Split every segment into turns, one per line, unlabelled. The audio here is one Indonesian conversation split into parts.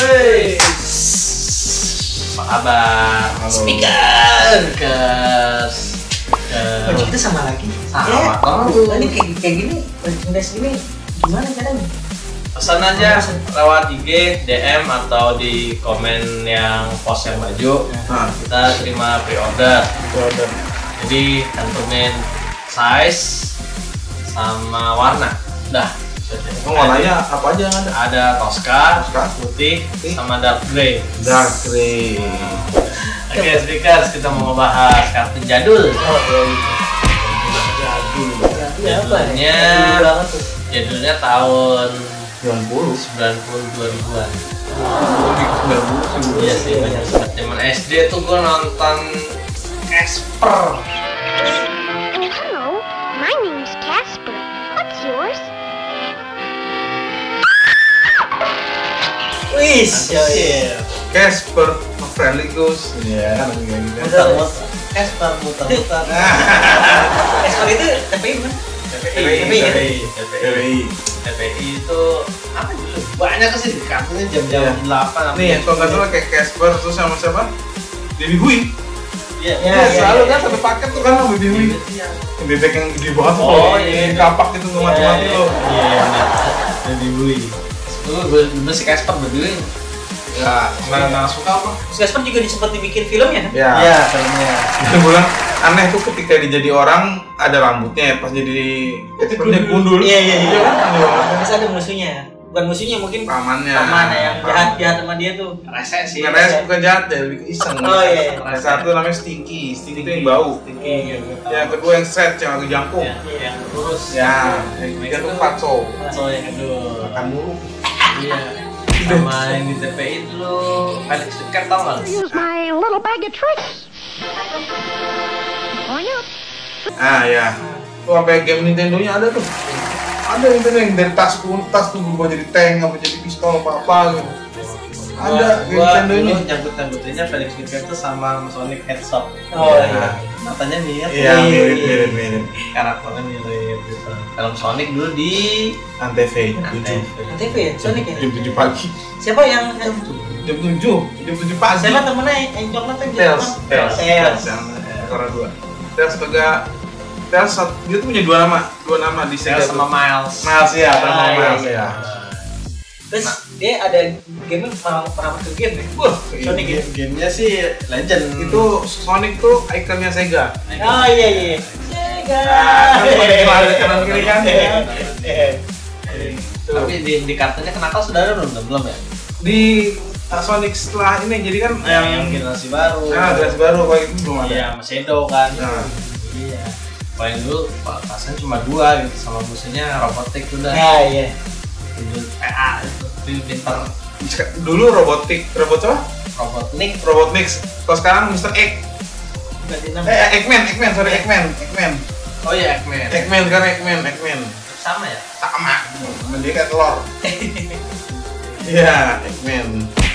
Hey. Apa kabar? Speaker. Kes.
Kunci kita sama lagi.
Sama Eh, banget.
Kayak, gitu. ini kayak, kayak gini, merchandise gini gimana kadang?
Pesan aja lewat IG, DM atau di komen yang post yang baju.
Nah,
Kita terima Ya. pre-order.
itu ada.
Jadi cantumin size sama warna. Dah.
Emang warnanya apa aja yang ada?
ada Tosca,
Tosca,
putih,
putih.
sama dark grey.
Dark grey.
Oke, speakers, kita mau ngebahas kartu jadul.
Oh iya gitu.
Jadul.
Ya, iya apa? ya?
Judulnya-
Jadul banget tuh.
Jadulnya tahun
90.
92-an.
Lebih ke 90.
Iya sih, banyak banget. Zaman SD tuh gue nonton Esper.
Hello, my name's Casper. What's yours?
Wis, ya
Iya.
iya.
Casper, friendly ghost. Iya, kan lebih kayak gitu.
Muter
Esper muter-muter.
Ekspor Eh, itu TPI bukan?
TPI, TPI, TPI.
Dari
TPI itu apa dulu? Banyak sih di kartunya
Iya.
jam-jam 8 apa ya?
nih, kalau nggak salah kayak Casper terus sama siapa? Debbie Hui.
Iya.
Iya,
Ya, ya,
selalu
ya,
kan
ya.
satu paket tuh kan sama Debbie Hui.
Iya, iya.
Yang Bebek yang gede banget tuh,
Oh,
kalau
iya.
yang kapak gitu nggak mati-mati
Iya,
tuh.
Iya, iya, bener. Jadi bui. Gue bener sih Casper berdiri.
Ya, nggak nggak suka apa?
Terus Ekspor juga sempat dibikin filmnya kan?
Ya.
Iya, filmnya.
Itu bilang aneh tuh ketika dia jadi orang ada rambutnya pas jadi Casper dia gundul.
Iya, iya, iya.
kan aneh banget.
Terus ada musuhnya. Bukan musuhnya mungkin
Pamannya.
paman ya, yang jahat jahat sama dia tuh.
Rese sih.
Sebenarnya saya bukan jahat ya, lebih ke iseng.
Oh, iya.
Yang Satu namanya stinky, stinky itu yang bau.
Iya, iya, iya.
Yang kedua yang set, yang agak jangkung.
Iya, yang lurus.
Ya, yang ketiga tuh patso.
Oh, ya, aduh.
Makan mulu.
Iya. Sama yang di TPI dulu. Ada stiker tau nggak? lu?
Use my little bag of tricks. Going up.
Ah ya. Tuh sampai game Nintendo-nya ada tuh. Ada Nintendo yang dari tas pun tas tuh berubah jadi tank apa jadi pistol apa apa gitu. Ada game
gua,
Nintendo nya.
gua nyambut nyambutinnya Felix Stiker tuh sama Sonic Hedgehog.
Oh iya.
Matanya mirip.
Iya mirip mirip mirip.
Karakternya mirip gitu. Film Sonic dulu di
Antv tujuh.
Antv.
TV ya, Sonic ya.
Jam tujuh pagi.
Siapa yang
Jam tujuh. Jam tujuh pagi.
siapa temennya yang coklat kan?
Tails. Tails.
Tails. Tails.
Yang Korea eh, dua. Tails juga. Tails sat- dia tuh punya dua nama. Dua nama di
Saya
sini.
sama Miles.
Miles ya,
Ah,
Iya, sama
iya,
Miles
iya.
ya.
Terus dia ada game malah merapat ke game ya.
Wah,
Sonic
Iya.
ya.
Gamenya sih legend.
itu Sonic tuh ikonnya Sega.
Oh iya iya. Sega.
Ah, kan pakai lari kanan kiri kan.
Eh,
Tapi di, di kartunya kenapa saudara belum belum ya?
Di uh, Sonic setelah ini jadi kan
Yang, yang
yang
generasi baru.
ah dress baru kayak itu belum ada.
Iya, sama Shadow kan.
Ah.
Nah.
Iya. Paling dulu pa- pasnya cuma dua gitu sama musuhnya robotik udah.
Nah iya.
Itu PA itu Itu pinter
Sek- Dulu robotik, robot apa?
Robotnik.
Robotnik. Kalau sekarang Mr. Egg.
Berarti enam.
Eh, Eggman, Eggman, sorry Eggman, Eggman.
Oh iya, Eggman.
Eggman kan Eggman, Eggman.
Sama ya?
Sama, mendekat telur. Iya, Eggman.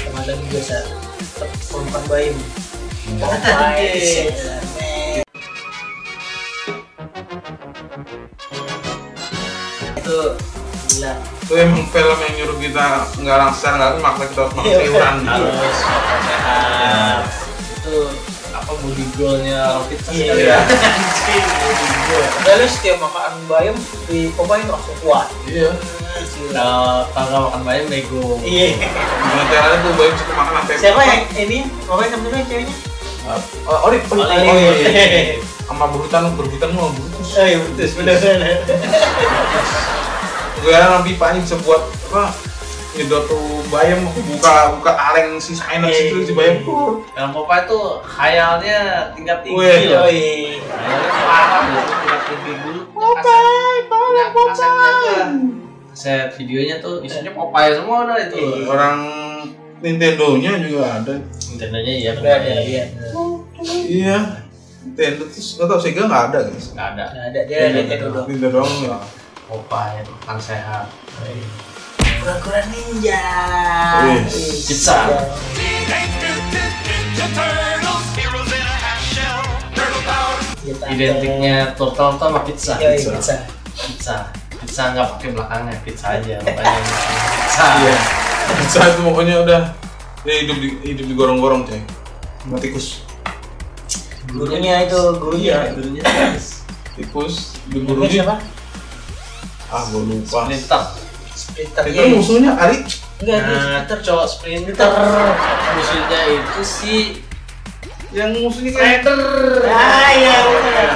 Teman biasa. Perempuan bayi.
Itu
Gila.
Itu emang film yang nyuruh kita nggak langsar, nggak makna kita harus makan
Iya,
sayuran gitu.
harus makan sehat. Itu apa body goalnya Rocket kan
Iya.
ya?
Udah lu setiap makan bayam di cobain langsung kuat.
Iya.
Gila.
Kalau kalau nggak makan banyak bego.
Iya.
Gimana caranya tuh bayi suka makan sampai
Siapa yang ini? Pokoknya temennya ceweknya.
Oh, Ori,
Oli.
Ori, Oh, iya, iya, iya. Sama berutan, berutan lu sama berutus.
Oh iya betul, benar-benar.
Gue heran sama pipanya bisa buat apa? Nyedot tuh bayam, buka buka aleng si Spinner
Iya,
situ si bayam. Uh,
Dalam Popeye tuh khayalnya tingkat tinggi
Wih,
loh.
Oh iya.
Khayalnya parah loh, tingkat tinggi dulu. Popeye, tolong Popeye. Set videonya tuh isinya Popeye semua dah itu.
Orang Nintendo-nya juga ada.
Nintendonya iya,
Udah ada,
Popeye.
iya.
Iya. Nintendo terus nggak tahu Sega nggak ada guys.
Nggak ada.
Udah ada, dia ada itu doang.
Nintendo doang ya.
Popeye makan sehat. Iya.
Kura-kura ninja.
Wih,
pizza.
Kita-
Identiknya turtle tuh sama pizza.
Iya, iya, pizza.
Pizza. Pizza nggak pakai belakangnya, pizza aja. Makanya pizza.
Iya. Saya itu pokoknya udah dia hidup di hidup di gorong-gorong coy. Sama tikus.
Gurunya itu, gurunya.
Iya, gurunya tikus.
Tikus diburu
Gurunya siapa?
Ah, gua lupa.
Splinter.
Splitter.
Itu
iya.
musuhnya Ali.
Enggak, itu
Nah,
splitter.
cowok Splinter. Musuhnya itu si
Yang musuhnya kayak
Ah, iya, bener.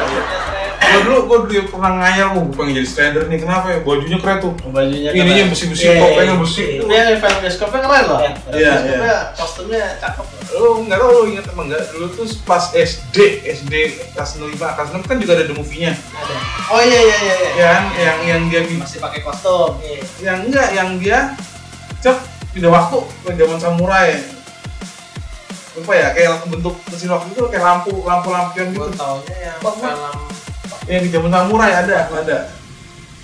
Gua dulu gua dulu pernah ngayal gua gua pengen jadi strider nih. Kenapa ya? Bajunya keren tuh.
bajunya keren.
Ininya besi-besi,
Iya, iya,
topengnya
iya.
besi.
Itu dia fan bioskopnya keren loh.
Iya,
iya.
Bioskopnya, kostumnya cakep.
lu nggak tau lu inget apa enggak dulu tuh pas SD SD kelas 5 kelas 6 kan juga ada the movie-nya
Ada.
Oh iya iya iya. iya.
yang yang yang dia bi-
Masih pakai kostum.
Iya.
yang enggak yang dia cep pindah waktu ke zaman samurai lupa ya kayak bentuk mesin waktu itu kayak lampu lampu lampion
Gue
gitu
taunya yang
Apa?
film
yang di zaman samurai ada ada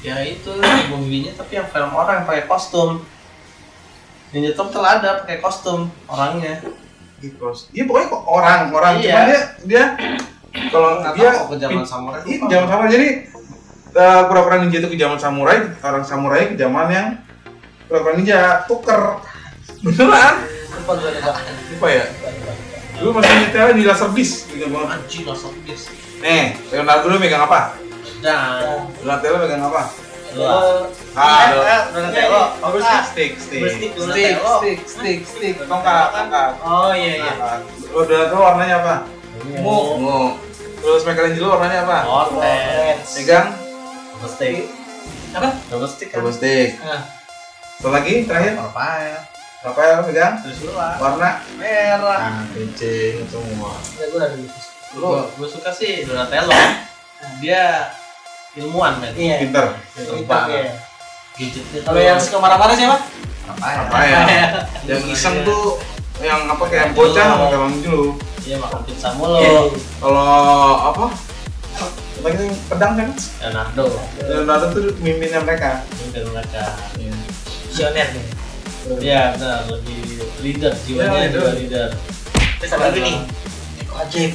ya itu movie-nya tapi yang film orang yang pakai kostum. Yang YouTube telah ada pakai kostum orangnya.
Tikus. Iya pokoknya kok orang orang
Iya.
cuman dia dia kalau
Nggak
dia
tahu kok ke zaman samurai,
Iya,
lupa.
zaman samurai jadi eh, pura-pura ninja itu ke zaman samurai, orang samurai ke zaman yang pura-pura ninja tuker. Beneran?
Lupa gue ada bahan.
Lupa ya? Dulu masih nyetel di laser disc gitu banget.
Anjing langsung bis.
Nih, Leonardo dulu megang apa?
Dan
Donatello megang apa?
Oh,
Dua.
Ah,
Eh, eh, Donatello.
Aku
Ah.
stick, stick, stick.
Stick, stick, stick, stick, stick.
Tongkat, tongkat.
Oh iya iya.
Tongkat. Lo Donatello Nah, warnanya apa?
Mu.
Ungu. Terus Michelangelo warnanya apa?
Orange.
Megang
Double stick.
Apa?
Double stick kan.
double stick.
Nah,
Satu lagi terakhir
Rafael.
Rafael megang
Terus lu lah.
warna
Merah.
ah kencing semua.
Oh, enggak gue ada gitu.
Lu gue suka sih Donatello. Dia ilmuwan kan.
Iya.
Pinter.
Splitter, iya.
Gadgetnya
Kalau yang suka marah-marah siapa?
Rafael.
Rafael. Yang iseng tuh yang apa kayak yang bocah sama kalang dulu.
Iya makan pizza
Iya.
mulu.
Kalau apa? Lagi yang pedang kan?
Leonardo.
Leonardo tuh mimpinnya mereka.
Mimpin mereka.
Visioner nih.
Iya benar lebih leader
Iya,
jiwanya juga
leader.
leader.
Terus ada lagi nih. Neko ajaib.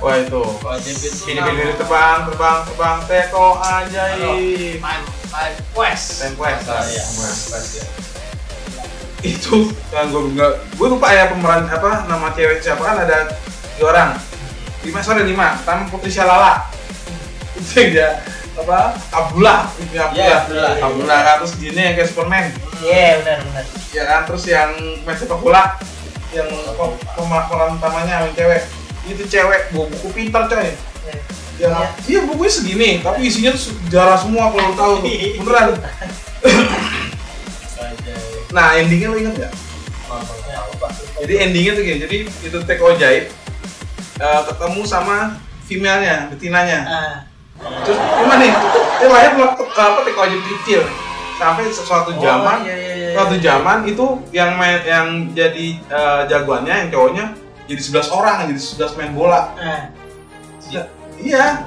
Wah itu.
Kalau champion
Ini bibir terbang, terbang, terbang, teko ajaib.
Main main quest.
Time Quest.
Ah, iya.
Time Quest.
Quest, ya.
itu yang gue nggak gue lupa ya pemeran apa nama cewek siapa kan ada tiga orang lima sorry lima pertama Putri Lala itu yang dia apa Abdullah itu yang
Iya,
Abdullah
Abdullah.
Abdullah kan terus dia yang kayak Superman
Iya, benar benar.
ya kan terus yang main sepak bola yang pe- pema- pemeran utamanya yang cewek itu cewek bawa buku pintar coy
Iya.
yang iya bukunya segini tapi isinya tuh sejarah semua kalau lu tahu tuh. beneran
Aja.
nah endingnya lo inget nggak
Ya, lupa. lupa.
jadi endingnya tuh gini jadi itu teko ajaib eh, ketemu sama female-nya, betinanya
Ah,
terus gimana nih dia lahir buat eh, apa teko ajaib kecil sampai sesuatu
Oh,
zaman
iya, iya, iya.
suatu zaman itu yang main yang jadi eh, jagoannya yang cowoknya jadi 11 orang jadi 11 main bola
ah.
iya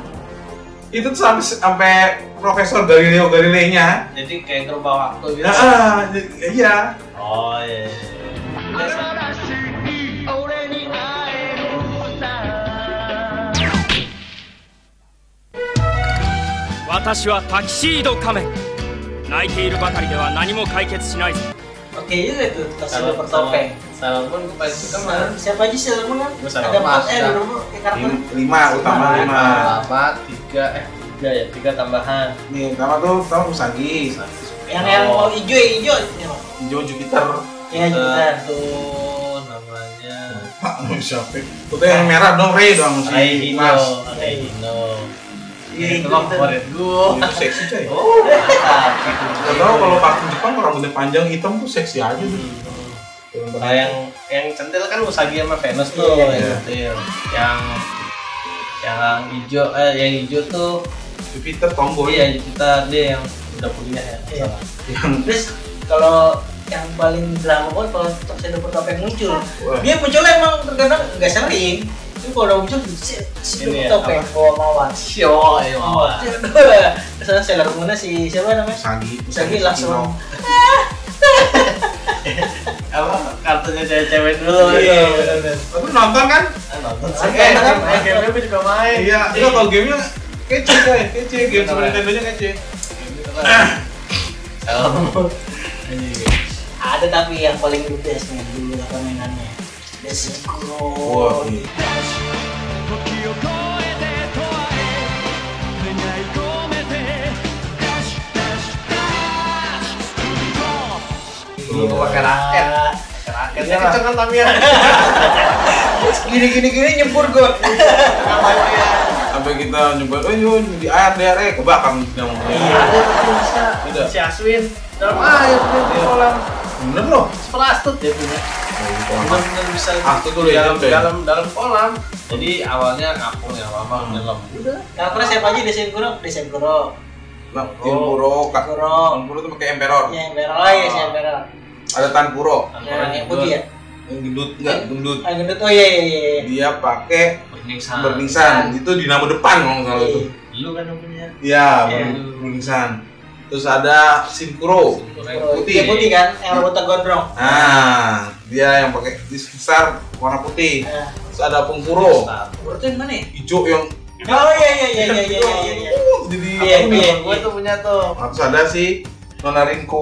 itu tuh sampai sampai profesor Galileo Galilei-nya
Jadi kayak ngerubah waktu gitu.
ya ah, iya
Oh iya. iya.
私はタキシード仮面泣いているばかりでは何も解決しないぞ
Oke juga tuh kasih
Kalau
nomor
pertopeng.
topeng.
Salam pun gue paling suka mah.
Siapa aja sih Sailor Moon kan?
Gua Sailor
Ada
Moon,
empat, eh ada
Sailor-
nomor eh, karakter.
Lim- lima utama lima
Lama tiga eh tiga ya tiga tambahan.
nih pertama tuh pertama Usagi
Yang yang
Oh.
mau hijau yang hijau.
Joe Jupiter
Eh.
Ya, Jupiter.
Satu namanya
Pak mau siapa? Itu yang merah dong Ray dong si
Raihino.
Iya, Mas.
Raihino.
Iya,
Itu
itu
mah
itu.
favorit gue.
Itu seksi coy.
Oh, mantap. Gitu.
Gak tau kalau kartun Jepang kalau rambutnya panjang hitam tuh seksi aja tuh.
Nah, yang yang centil kan Usagi sama Venus tuh
Iya,
yang
iya.
centil. Yang yang hijau eh yang hijau tuh
Jupiter tomboy.
iya kita dia yang udah kuliah ya.
Iya.
salah.
Yang
Terus kalau yang paling drama banget kalau top shadow pertopeng muncul
Wah.
dia munculnya emang terkadang nggak sering tapi kalau udah muncul si si
Ini ya,
pertopeng
apa?
bawa mawar
Sio, iya.
mawar terus ada Sailor Moon-nya si siapa namanya
Usagi.
Usagi langsung
Apa kartunya cewek-cewek dulu
Iya,
itu.
Tapi nonton kan?
Ah, Nonton
Nonton,
Eh,
nonton.
game-nya juga main.
Iya. Itu kalau gamenya kece guys kece game Super Nintendo nya kece
Kalau Anjing.
Ada tapi yang paling the best nih dulu lah permainannya. Basic Grow.
Dulu tuh pakai raket. Raket
Iya.
kan Tamiya.
Gini gini gini nyebur gue.
ya.
sampai kita nyoba oh yun di air di air ke belakang eh, kan kita mau
Iya.
Tidak.
Si Aswin dalam air dia di kolam
bener loh
seperastut dia punya. Benar-benar bisa
aku tuh
Di
lihat
dalam,
deh
dalam dalam kolam. Jadi awalnya kampung yang lama Kan nyelam.
udah. Yang pernah siapa aja desain Grow? Desain Grow.
Nah, Tanpuro, Kak.
Tanpuro.
Tanpuro tuh pakai emperor.
Ya, yang merah lah ya, si yang merah.
Ada Tanpuro.
Yang yang putih ya.
Yang gendut enggak, gendut.
Yang gendut oh iya iya iya.
Dia pakai
Burning Sun.
Ah,
berningsan. Itu dinamo depan kalau nggak salah itu.
Dulu kan namanya.
Iya,
Iya.
berningsan. Terus ada Sinkuro. Putih.
Dia putih kan, yang robotan gondrong.
Nah, dia yang pakai dis besar warna putih.
Nah,
Terus ada Pengkuro.
itu yang mana ya?
Hijau yang
Oh iya iya iya iya iya iya iya.
Uh, jadi
Iya iya.
Gue tuh punya tuh.
Nah, Terus ada si Nona Rinko,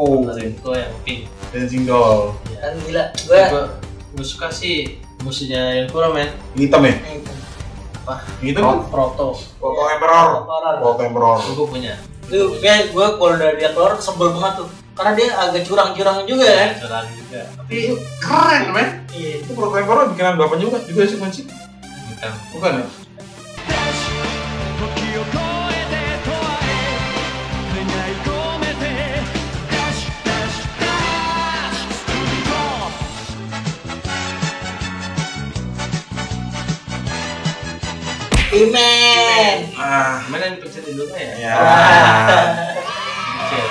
Gue yang pink.
Dancing Doll.
Kan gila, gue
Gue gue suka sih musuhnya yang kurang men.
Yang hitam ya? Yang hitam kan?
Proto.
Foto Emperor.
Oh. Emperor.
Foto Emperor.
Gue punya.
Itu gue gue kalau dari dia keluar sebel banget tuh. Karena dia agak curang-curang juga kan.
Curang juga.
Tapi keren men.
Iya.
Itu Foto Emperor bikinan bapaknya bukan? Juga sih kunci.
Bukan.
Bukan ya?
Iman.
Ah,
Mana yang pencet dulu ya?
ya.
Pencet.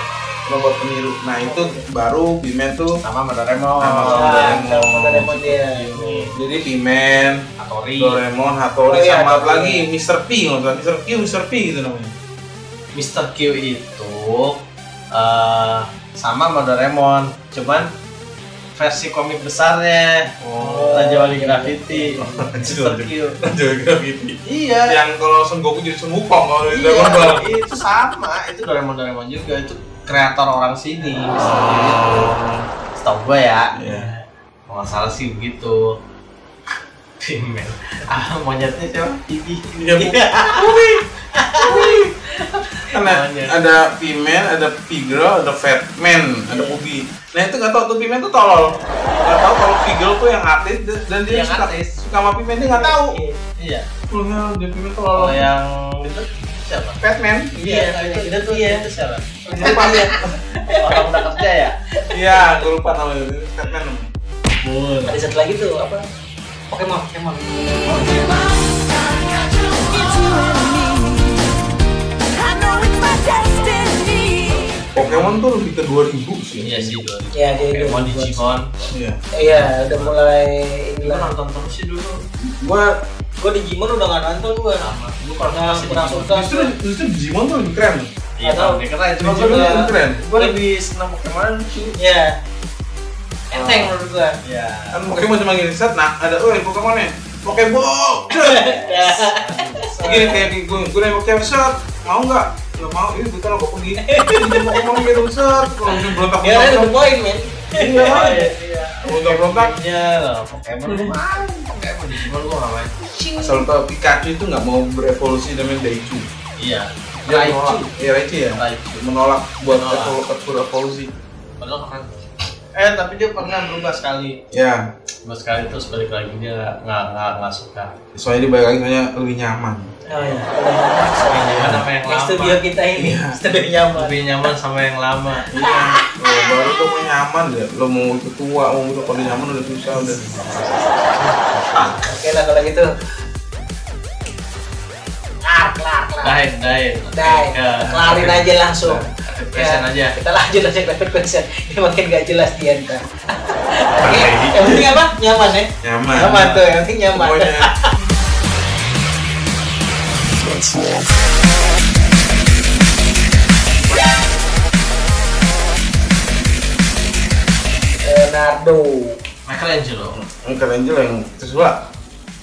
Robot peniru. Nah itu baru Bimen tuh Nah,
Sama sama
Oh.
Doraemon.
Sama
Wah,
Doraemon.
sama Doraemon dia.
jadi Bimen,
Atori.
Doraemon, Hattori,
Oh, iya,
sama apa
Hattori.
lagi Mr. P nggak usah Mr. Q, Mr. P gitu namanya.
Mr. Q itu eh sama sama Doraemon, cuman versi komik besarnya
Oh.
Raja Wali Graffiti. Mr. Q.
Juga gitu.
Iya.
Yang kalau Son Goku jadi Son Wukong kalau di Dragon Ball.
Iya, itu sama, itu Doraemon Doraemon juga itu kreator orang sini. Mr. Q itu. Setahu gue ya.
Oh. Iya.
Kalau nggak salah sih begitu. Pimen. Ah, monyetnya siapa? Bibi.
Iya, Bu. Karena
Namanya.
ada P-Man, ada P-Girl, ada Fatman, ada Ubi. Nah itu nggak tahu tuh P-Man tuh tolol. Nggak tahu kalau P-Girl tuh yang artis dan- dan dia
Yang
suka,
artis.
suka sama P-Man dia nggak tahu.
Iya.
Pulangnya dia P-Man tolol.
Kalau yang itu siapa?
Fatman.
itu,
Iya, itu-
itu,
itu- iya.
itu siapa?
Lupa ya.
Orang udah kerja ya?
Iya, gue lupa namanya. Fatman.
Bun.
Ada satu lagi tuh apa? Pokemon, Pokemon.
Pokemon tuh lebih ke 2000 sih.
Iya sih Don.
Iya, dia dia
Pokemon
buat-
Digimon.
Iya.
Iya, udah mulai
Gue
inilah.
nonton terus sih dulu.
Gua
Gue Digimon udah nggak nonton gue.
Sama. Gue
Pernah pernah suka.
justru justru Digimon tuh lebih keren.
Iya,
Atau-
tapi keren. Cuma gue
Digimon
udah.
lebih keren.
Gue lebih senang Pokemon sih.
Iya. Ah. Enteng menurut gue.
Iya.
Kan Pokemon cuma gini set, nah ada oh Pokemonnya. Pokeball. Gini kayak di gue gue nembak cewek set, mau nggak? Nggak mau, ini bentar aku pergi. Ini Pokemon gitu set, kalau ini berontak
Ya, itu
berontak.
poin men.
Iya,
iya.
berontak berontak.
Iya lah, Pokemon. Gua main. Pokemon Digimon gue nggak main.
Asal lu tau Pikachu itu nggak mau berevolusi dengan Daichu.
Iya.
Dia
Raichu.
menolak, ya Raichu ya,
Raichu.
menolak buat
Menolak.
evol- berevolusi.
Padahal keren. Eh tapi dia pernah berubah sekali.
Ya,
Berubah sekali terus balik lagi dia nggak nggak nggak- nggak suka.
soalnya dia balik lagi soalnya lebih nyaman.
Oh iya.
Nyaman sama yang lama.
studio kita ini
Iya.
studio nyaman
Lebih nyaman sama yang lama.
Lo baru tuh mau nyaman ya, lo mau itu tua, mau itu kalau dia nyaman udah susah udah.
oke lah kalau gitu kelar kelar kelar
Dain, dain.
Dai, kelarin aja langsung
Rapid question
Ya,
Ya. aja.
kita lanjut aja ke rapid question ini makin gak jelas dia ntar oke yang penting apa nyaman ya
Nyaman.
nyaman tuh yang penting nyaman
Pokoknya
Leonardo
Michelangelo.
yang keren aja lah yang terus lah.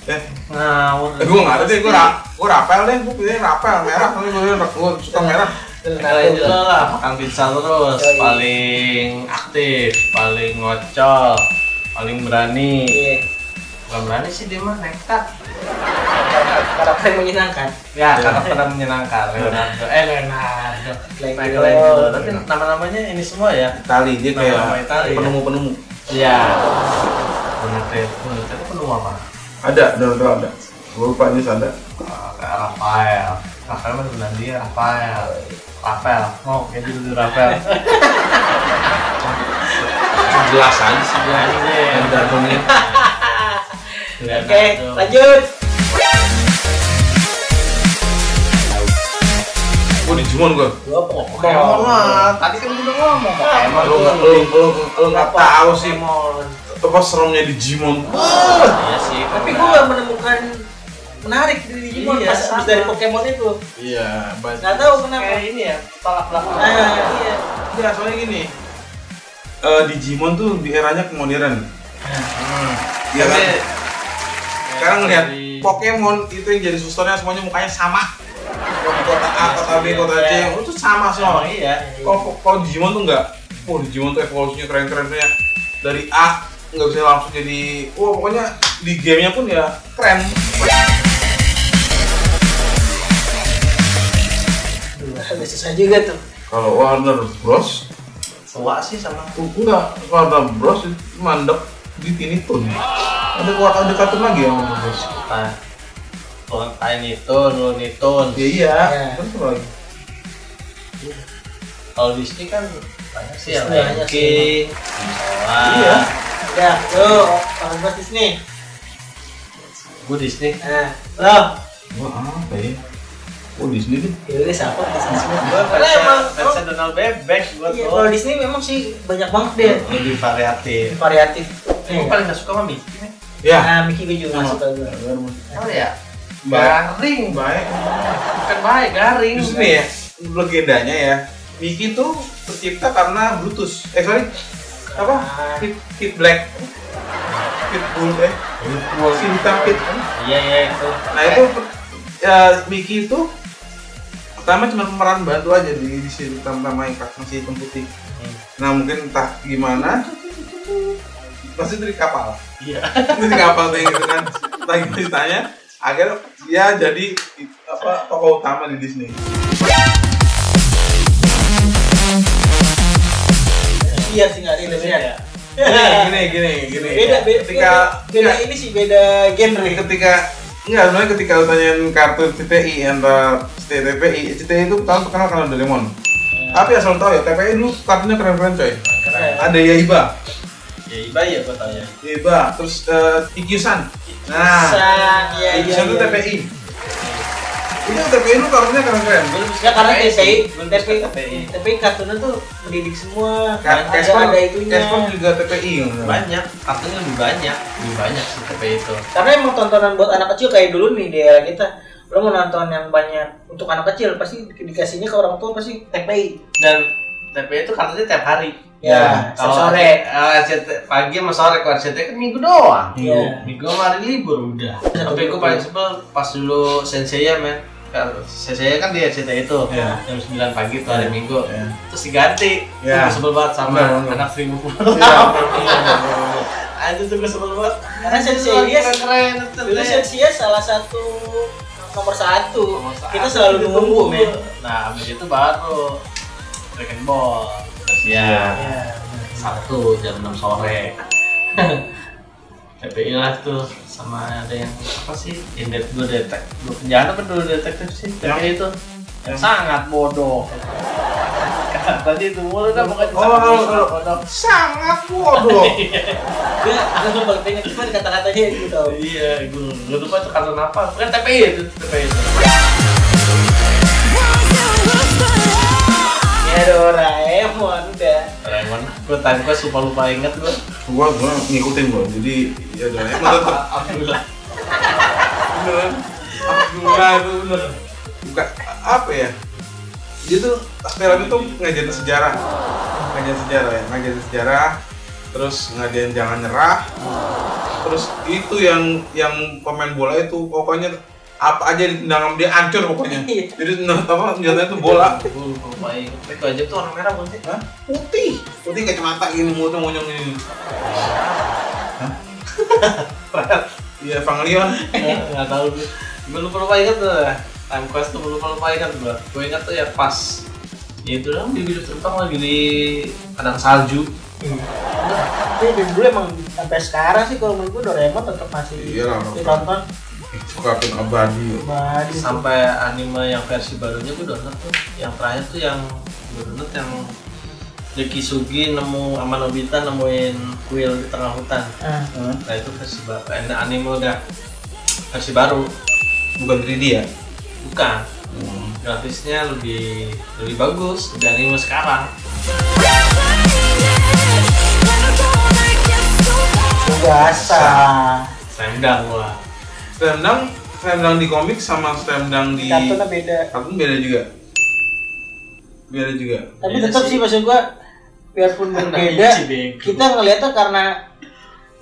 Eh,
Ngawur.
eh, gue nggak ada deh, gue ra, gue rapel deh, gue pilih rapel merah, tapi gue gue suka merah.
Kalian
Kenalin
dulu
dulu.
lah, makan pizza terus
Yoi.
Paling aktif, paling ngocol Paling berani
Iya.
Bukan berani sih dia mah nekat
Karena karakter yang menyenangkan.
Ya, karakternya menyenangkan Leonardo Eh, Leonardo Michelangelo
Michelangelo.
Tapi nama-namanya ini semua ya
Itali dia
Nama-nama
kayak
Itali, ya?
penemu-penemu.
Iya Donatello, Donatello penemu apa?
Ada, ada, ada, ada. Gue lupa ini ada.
Eh, Kayak Rafael Rafael mah sebenarnya dia, Rafael Rafael, mau kayak dulu Rafael
Jelas aja sih.
Anjir.
Ada penemu.
Oke, lanjut.
Gue dijumun gue.
Gua pokok.
Pokemon lah, tadi kan udah ngomong Pokemon
Lu nggak, lu lu lu nggak tahu sih mau
Pokemon.
apa seremnya di Jimon.
Iya sih,
Tapi gua nggak menemukan menarik dari Digimon
Iya,
pas
sama.
abis dari Pokemon itu.
Iya, banyak.
Nggak tahu kenapa.
kayak ini ya, tolak belakang
Nah, iya.
Ya, soalnya gini. Eh, Digimon tuh di eranya kemodern. Iya kan? Sekarang lihat Pokemon itu yang jadi susternya semuanya mukanya sama. Kota A, kota B, kota C, itu tuh sama
Emang
semua.
iya
Kalau kalau Digimon tuh enggak. Oh, Digimon tuh evolusinya keren-keren tuh ya. Dari A nggak bisa langsung jadi wah pokoknya di gamenya pun ya keren
Duh, agak susah juga tuh.
kalau Warner Bros
Tua sih sama
Oh, Enggak, Warner Bros itu mandek di Tiny Toon. Ada keluar ada kartun lagi yang Warner Bros.
Nah, Tuan Tiny Toon, Looney Tunes.
Ya iya,
Iya.
terus apa lagi?
Kalau Disney kan banyak sih yang
Disney
Lion
banyak
King Wah,
Iya.
Udah, Ya, tuh. Paham buat Disney.
gue Disney
Nah, lo.
Wah, apa ya? Oh Disney deh.
Ya udah, siapa Disney semua.
Gue
Karena emang, emang
fansnya Donald Bebek gue
iya, kalau
tuh
Disney memang sih banyak banget deh.
Lebih variatif
Variatif.
Gue paling gak suka sama Mickey nih.
Ya.
Nah, Mickey gue juga nggak suka gue.
Apa ya?
Baik.
Garing
Baik.
Bukan Kan baik, garing
Disney ya, legendanya ya. Mickey tuh tercipta karena Brutus. Eh sorry, apa? Kid, Kid Black. Kid Bull eh. Kid Hitam Kid.
Iya, iya itu
Nah itu ya, Mickey itu pertama cuma pemeran bantu aja di di sini pertama yang pas masih hitam putih. Nah mungkin entah gimana pasti dari kapal.
Iya
Dari kapal tuh yang gitu kan. Lagi ceritanya akhirnya dia jadi apa tokoh utama di Disney.
Iya sih nggak relate
Iya,
ya.
ya.
Gini gini gini.
Beda, beda,
iya. ketika iya.
beda, beda ini sih beda genre.
enggak, ketika enggak sebenarnya ketika lu tanyain kartun TPI antara TPI, TPI itu pertama terkenal karena Doraemon.
Iya.
Tapi asal lu tahu ya, TPI dulu kartunya keren-keren coy.
Keren.
Ada Yaiba,
Ya, iba ya gue tau ya
Yaiba, terus eh, Ikyusan. Nah,
San, iya, iya,
Ikyusan itu
iya.
TPI. Itu TPI lu kartunya keren-keren.
Ya karena TPI, TPI,
TPI.
TPI kartunnya tuh mendidik semua.
Ka-
ada
Casper,
ada itunya.
Casper juga TPI.
Banyak, kartunya lebih banyak Lebih banyak sih TPI itu
Karena emang tontonan buat anak kecil kayak dulu nih di era kita. Lo mau nonton yang banyak untuk anak kecil pasti dikasihnya ke orang tua pasti TPI.
dan TPI itu kartunya tiap hari.
Ya,
kalau
setiap sore.
RCT pagi sama sore kalau RCT kan minggu doang.
Iya.
Minggu sama hari libur udah.
Iya,
Tapi gue paling sebel pas dulu sensei ya men. Sensei kan di RCT itu
Iya.
jam 9 pagi tuh hari Minggu.
Iya.
Terus diganti.
Iya.
Gue sebel banget sama
Benar, benar.
anak seribu
Iya.
Aja tuh gue sebel banget.
Karena Sensei dia-
keren
Dulu Sensia salah satu nomor satu.
Nomor satu.
Kita selalu nunggu, men.
Nah, abis itu baru Dragon Ball. Terus ya. Sabtu jam 6 sore. TPI lah tuh sama ada yang apa sih? Yang dead gue detek. Gue penjahat apa dulu detektif sih? TPI itu yang sangat bodoh. Tadi itu mulu dah pokoknya
Oh,
sangat
oh, oh.
bodoh.
Sangat bodoh.
Gue gue tuh paling pengen cuma kata-katanya itu tau.
Iya, gue gue lupa tuh kartu apa. Kan TPI itu TPI itu.
Ya Doraemon udah.
Raymond, gue tadi gue suka lupa inget gue.
gua gua ngikutin gua jadi ya udah emang tetep
Alhamdulillah.
beneran Abdullah itu bener buka apa ya dia tuh film itu ngajarin sejarah ngajarin sejarah ya ngajarin sejarah terus ngadain jangan nyerah terus itu yang yang pemain bola itu pokoknya apa aja ditendang sama dia hancur pokoknya
Iya.
jadi nah, apa senjatanya itu bola
Gue lupa ya. Itu aja tuh warna merah bukan sih?
Hah? putih putih kacamata gini mulutnya monyong gini Hah? iya Evangelion
Nggak tahu gue. Gue lupa lupa ingat tuh. Time Quest tuh gue lupa lupa ingat gue. Gue ingat tuh ya pas. Ya itu dong di video terbang lagi di kadang salju.
Tapi dari dulu emang sampai sekarang sih kalau menurut gue Doraemon tetap masih
Iya lah, Bang.
ditonton.
itu kartun abadi
Wah, di-
Sampai anime yang versi barunya gue download tuh. Yang terakhir tuh yang gue download yang Ricky Sugi nemu sama Nobita nemuin kuil di tengah hutan.
Ah.
Nah itu versi baru. eh, Anime udah versi baru.
bukan 3D ya
Bukan. Hmm. Grafisnya lebih lebih bagus dari anime sekarang.
biasa.
Sendang gua.
slam dunk slam dunk di komik sama slam dunk di
Kartunnya beda.
kartun beda juga beda juga
Tapi
Iya
tetap
sih.
sih maksud gue biarpun
Karena
berbeda,
Ichi bego.
kita ngeliatnya karena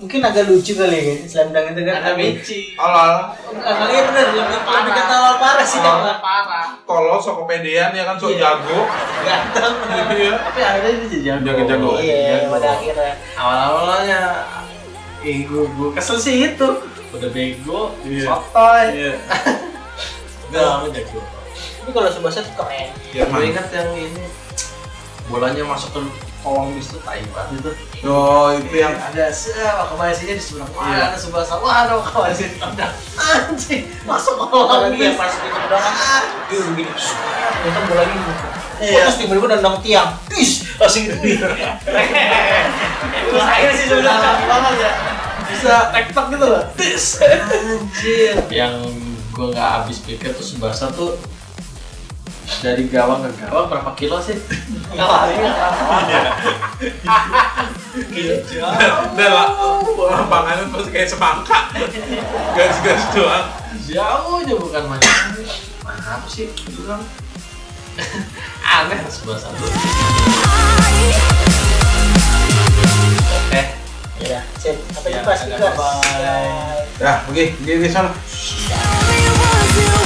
mungkin agak lucu kali ya Slam Dunk itu kan.
Ada
Tapi-
Michi.
Alal,
Karena iya bener, Slam Dunk lebih kata awal parah sih.
Orang
Dok.
parah.
tolol, sok kepedean ya kan, sok
Iya.
jago.
Ganteng.
Iya.
Tapi akhirnya dia jadi jago.
Jago- jago.
Iya, pada akhirnya.
Awal-awalnya eh, gua, gua kesel sih itu. Udah bego,
Iya.
sotoy.
Iya.
Enggak, lama jago.
Ini kalau Subasa tuh keren.
Iya,
Gua ingat yang ini bolanya masuk ke kolong bis tuh tai banget itu.
Oh, itu yang
ada siapa kemaisinya di sebelah mana sebelah sana. Wah, ada kemaisi tendang. Anjing, masuk kolong
Kalau
bis.
dia pas gitu doang kan,
itu begini.
nonton bola gitu.
Iya.
Terus tiba-tiba nendang tiang. Is, langsung gitu.
Terus akhirnya sih sudah cantik banget
Iya.
ya Bisa tektok gitu loh Tis Anjir Yang gue gak habis pikir tuh Subasa tuh dari gawang ke gawang berapa kilo sih? Gak lari gak
ya.
Udah lah, lapangannya terus kayak semangka. Gas-gas doang.
Jauh aja bukan main Mana apa sih? Dia bilang Aneh Subasa tuh Eh
Ya, sip. Iya, Sampai
Ya,
jumpa. sih,
dadah,
guys.
bye.
Dah, pergi, pergi ke sana.
Tell me was it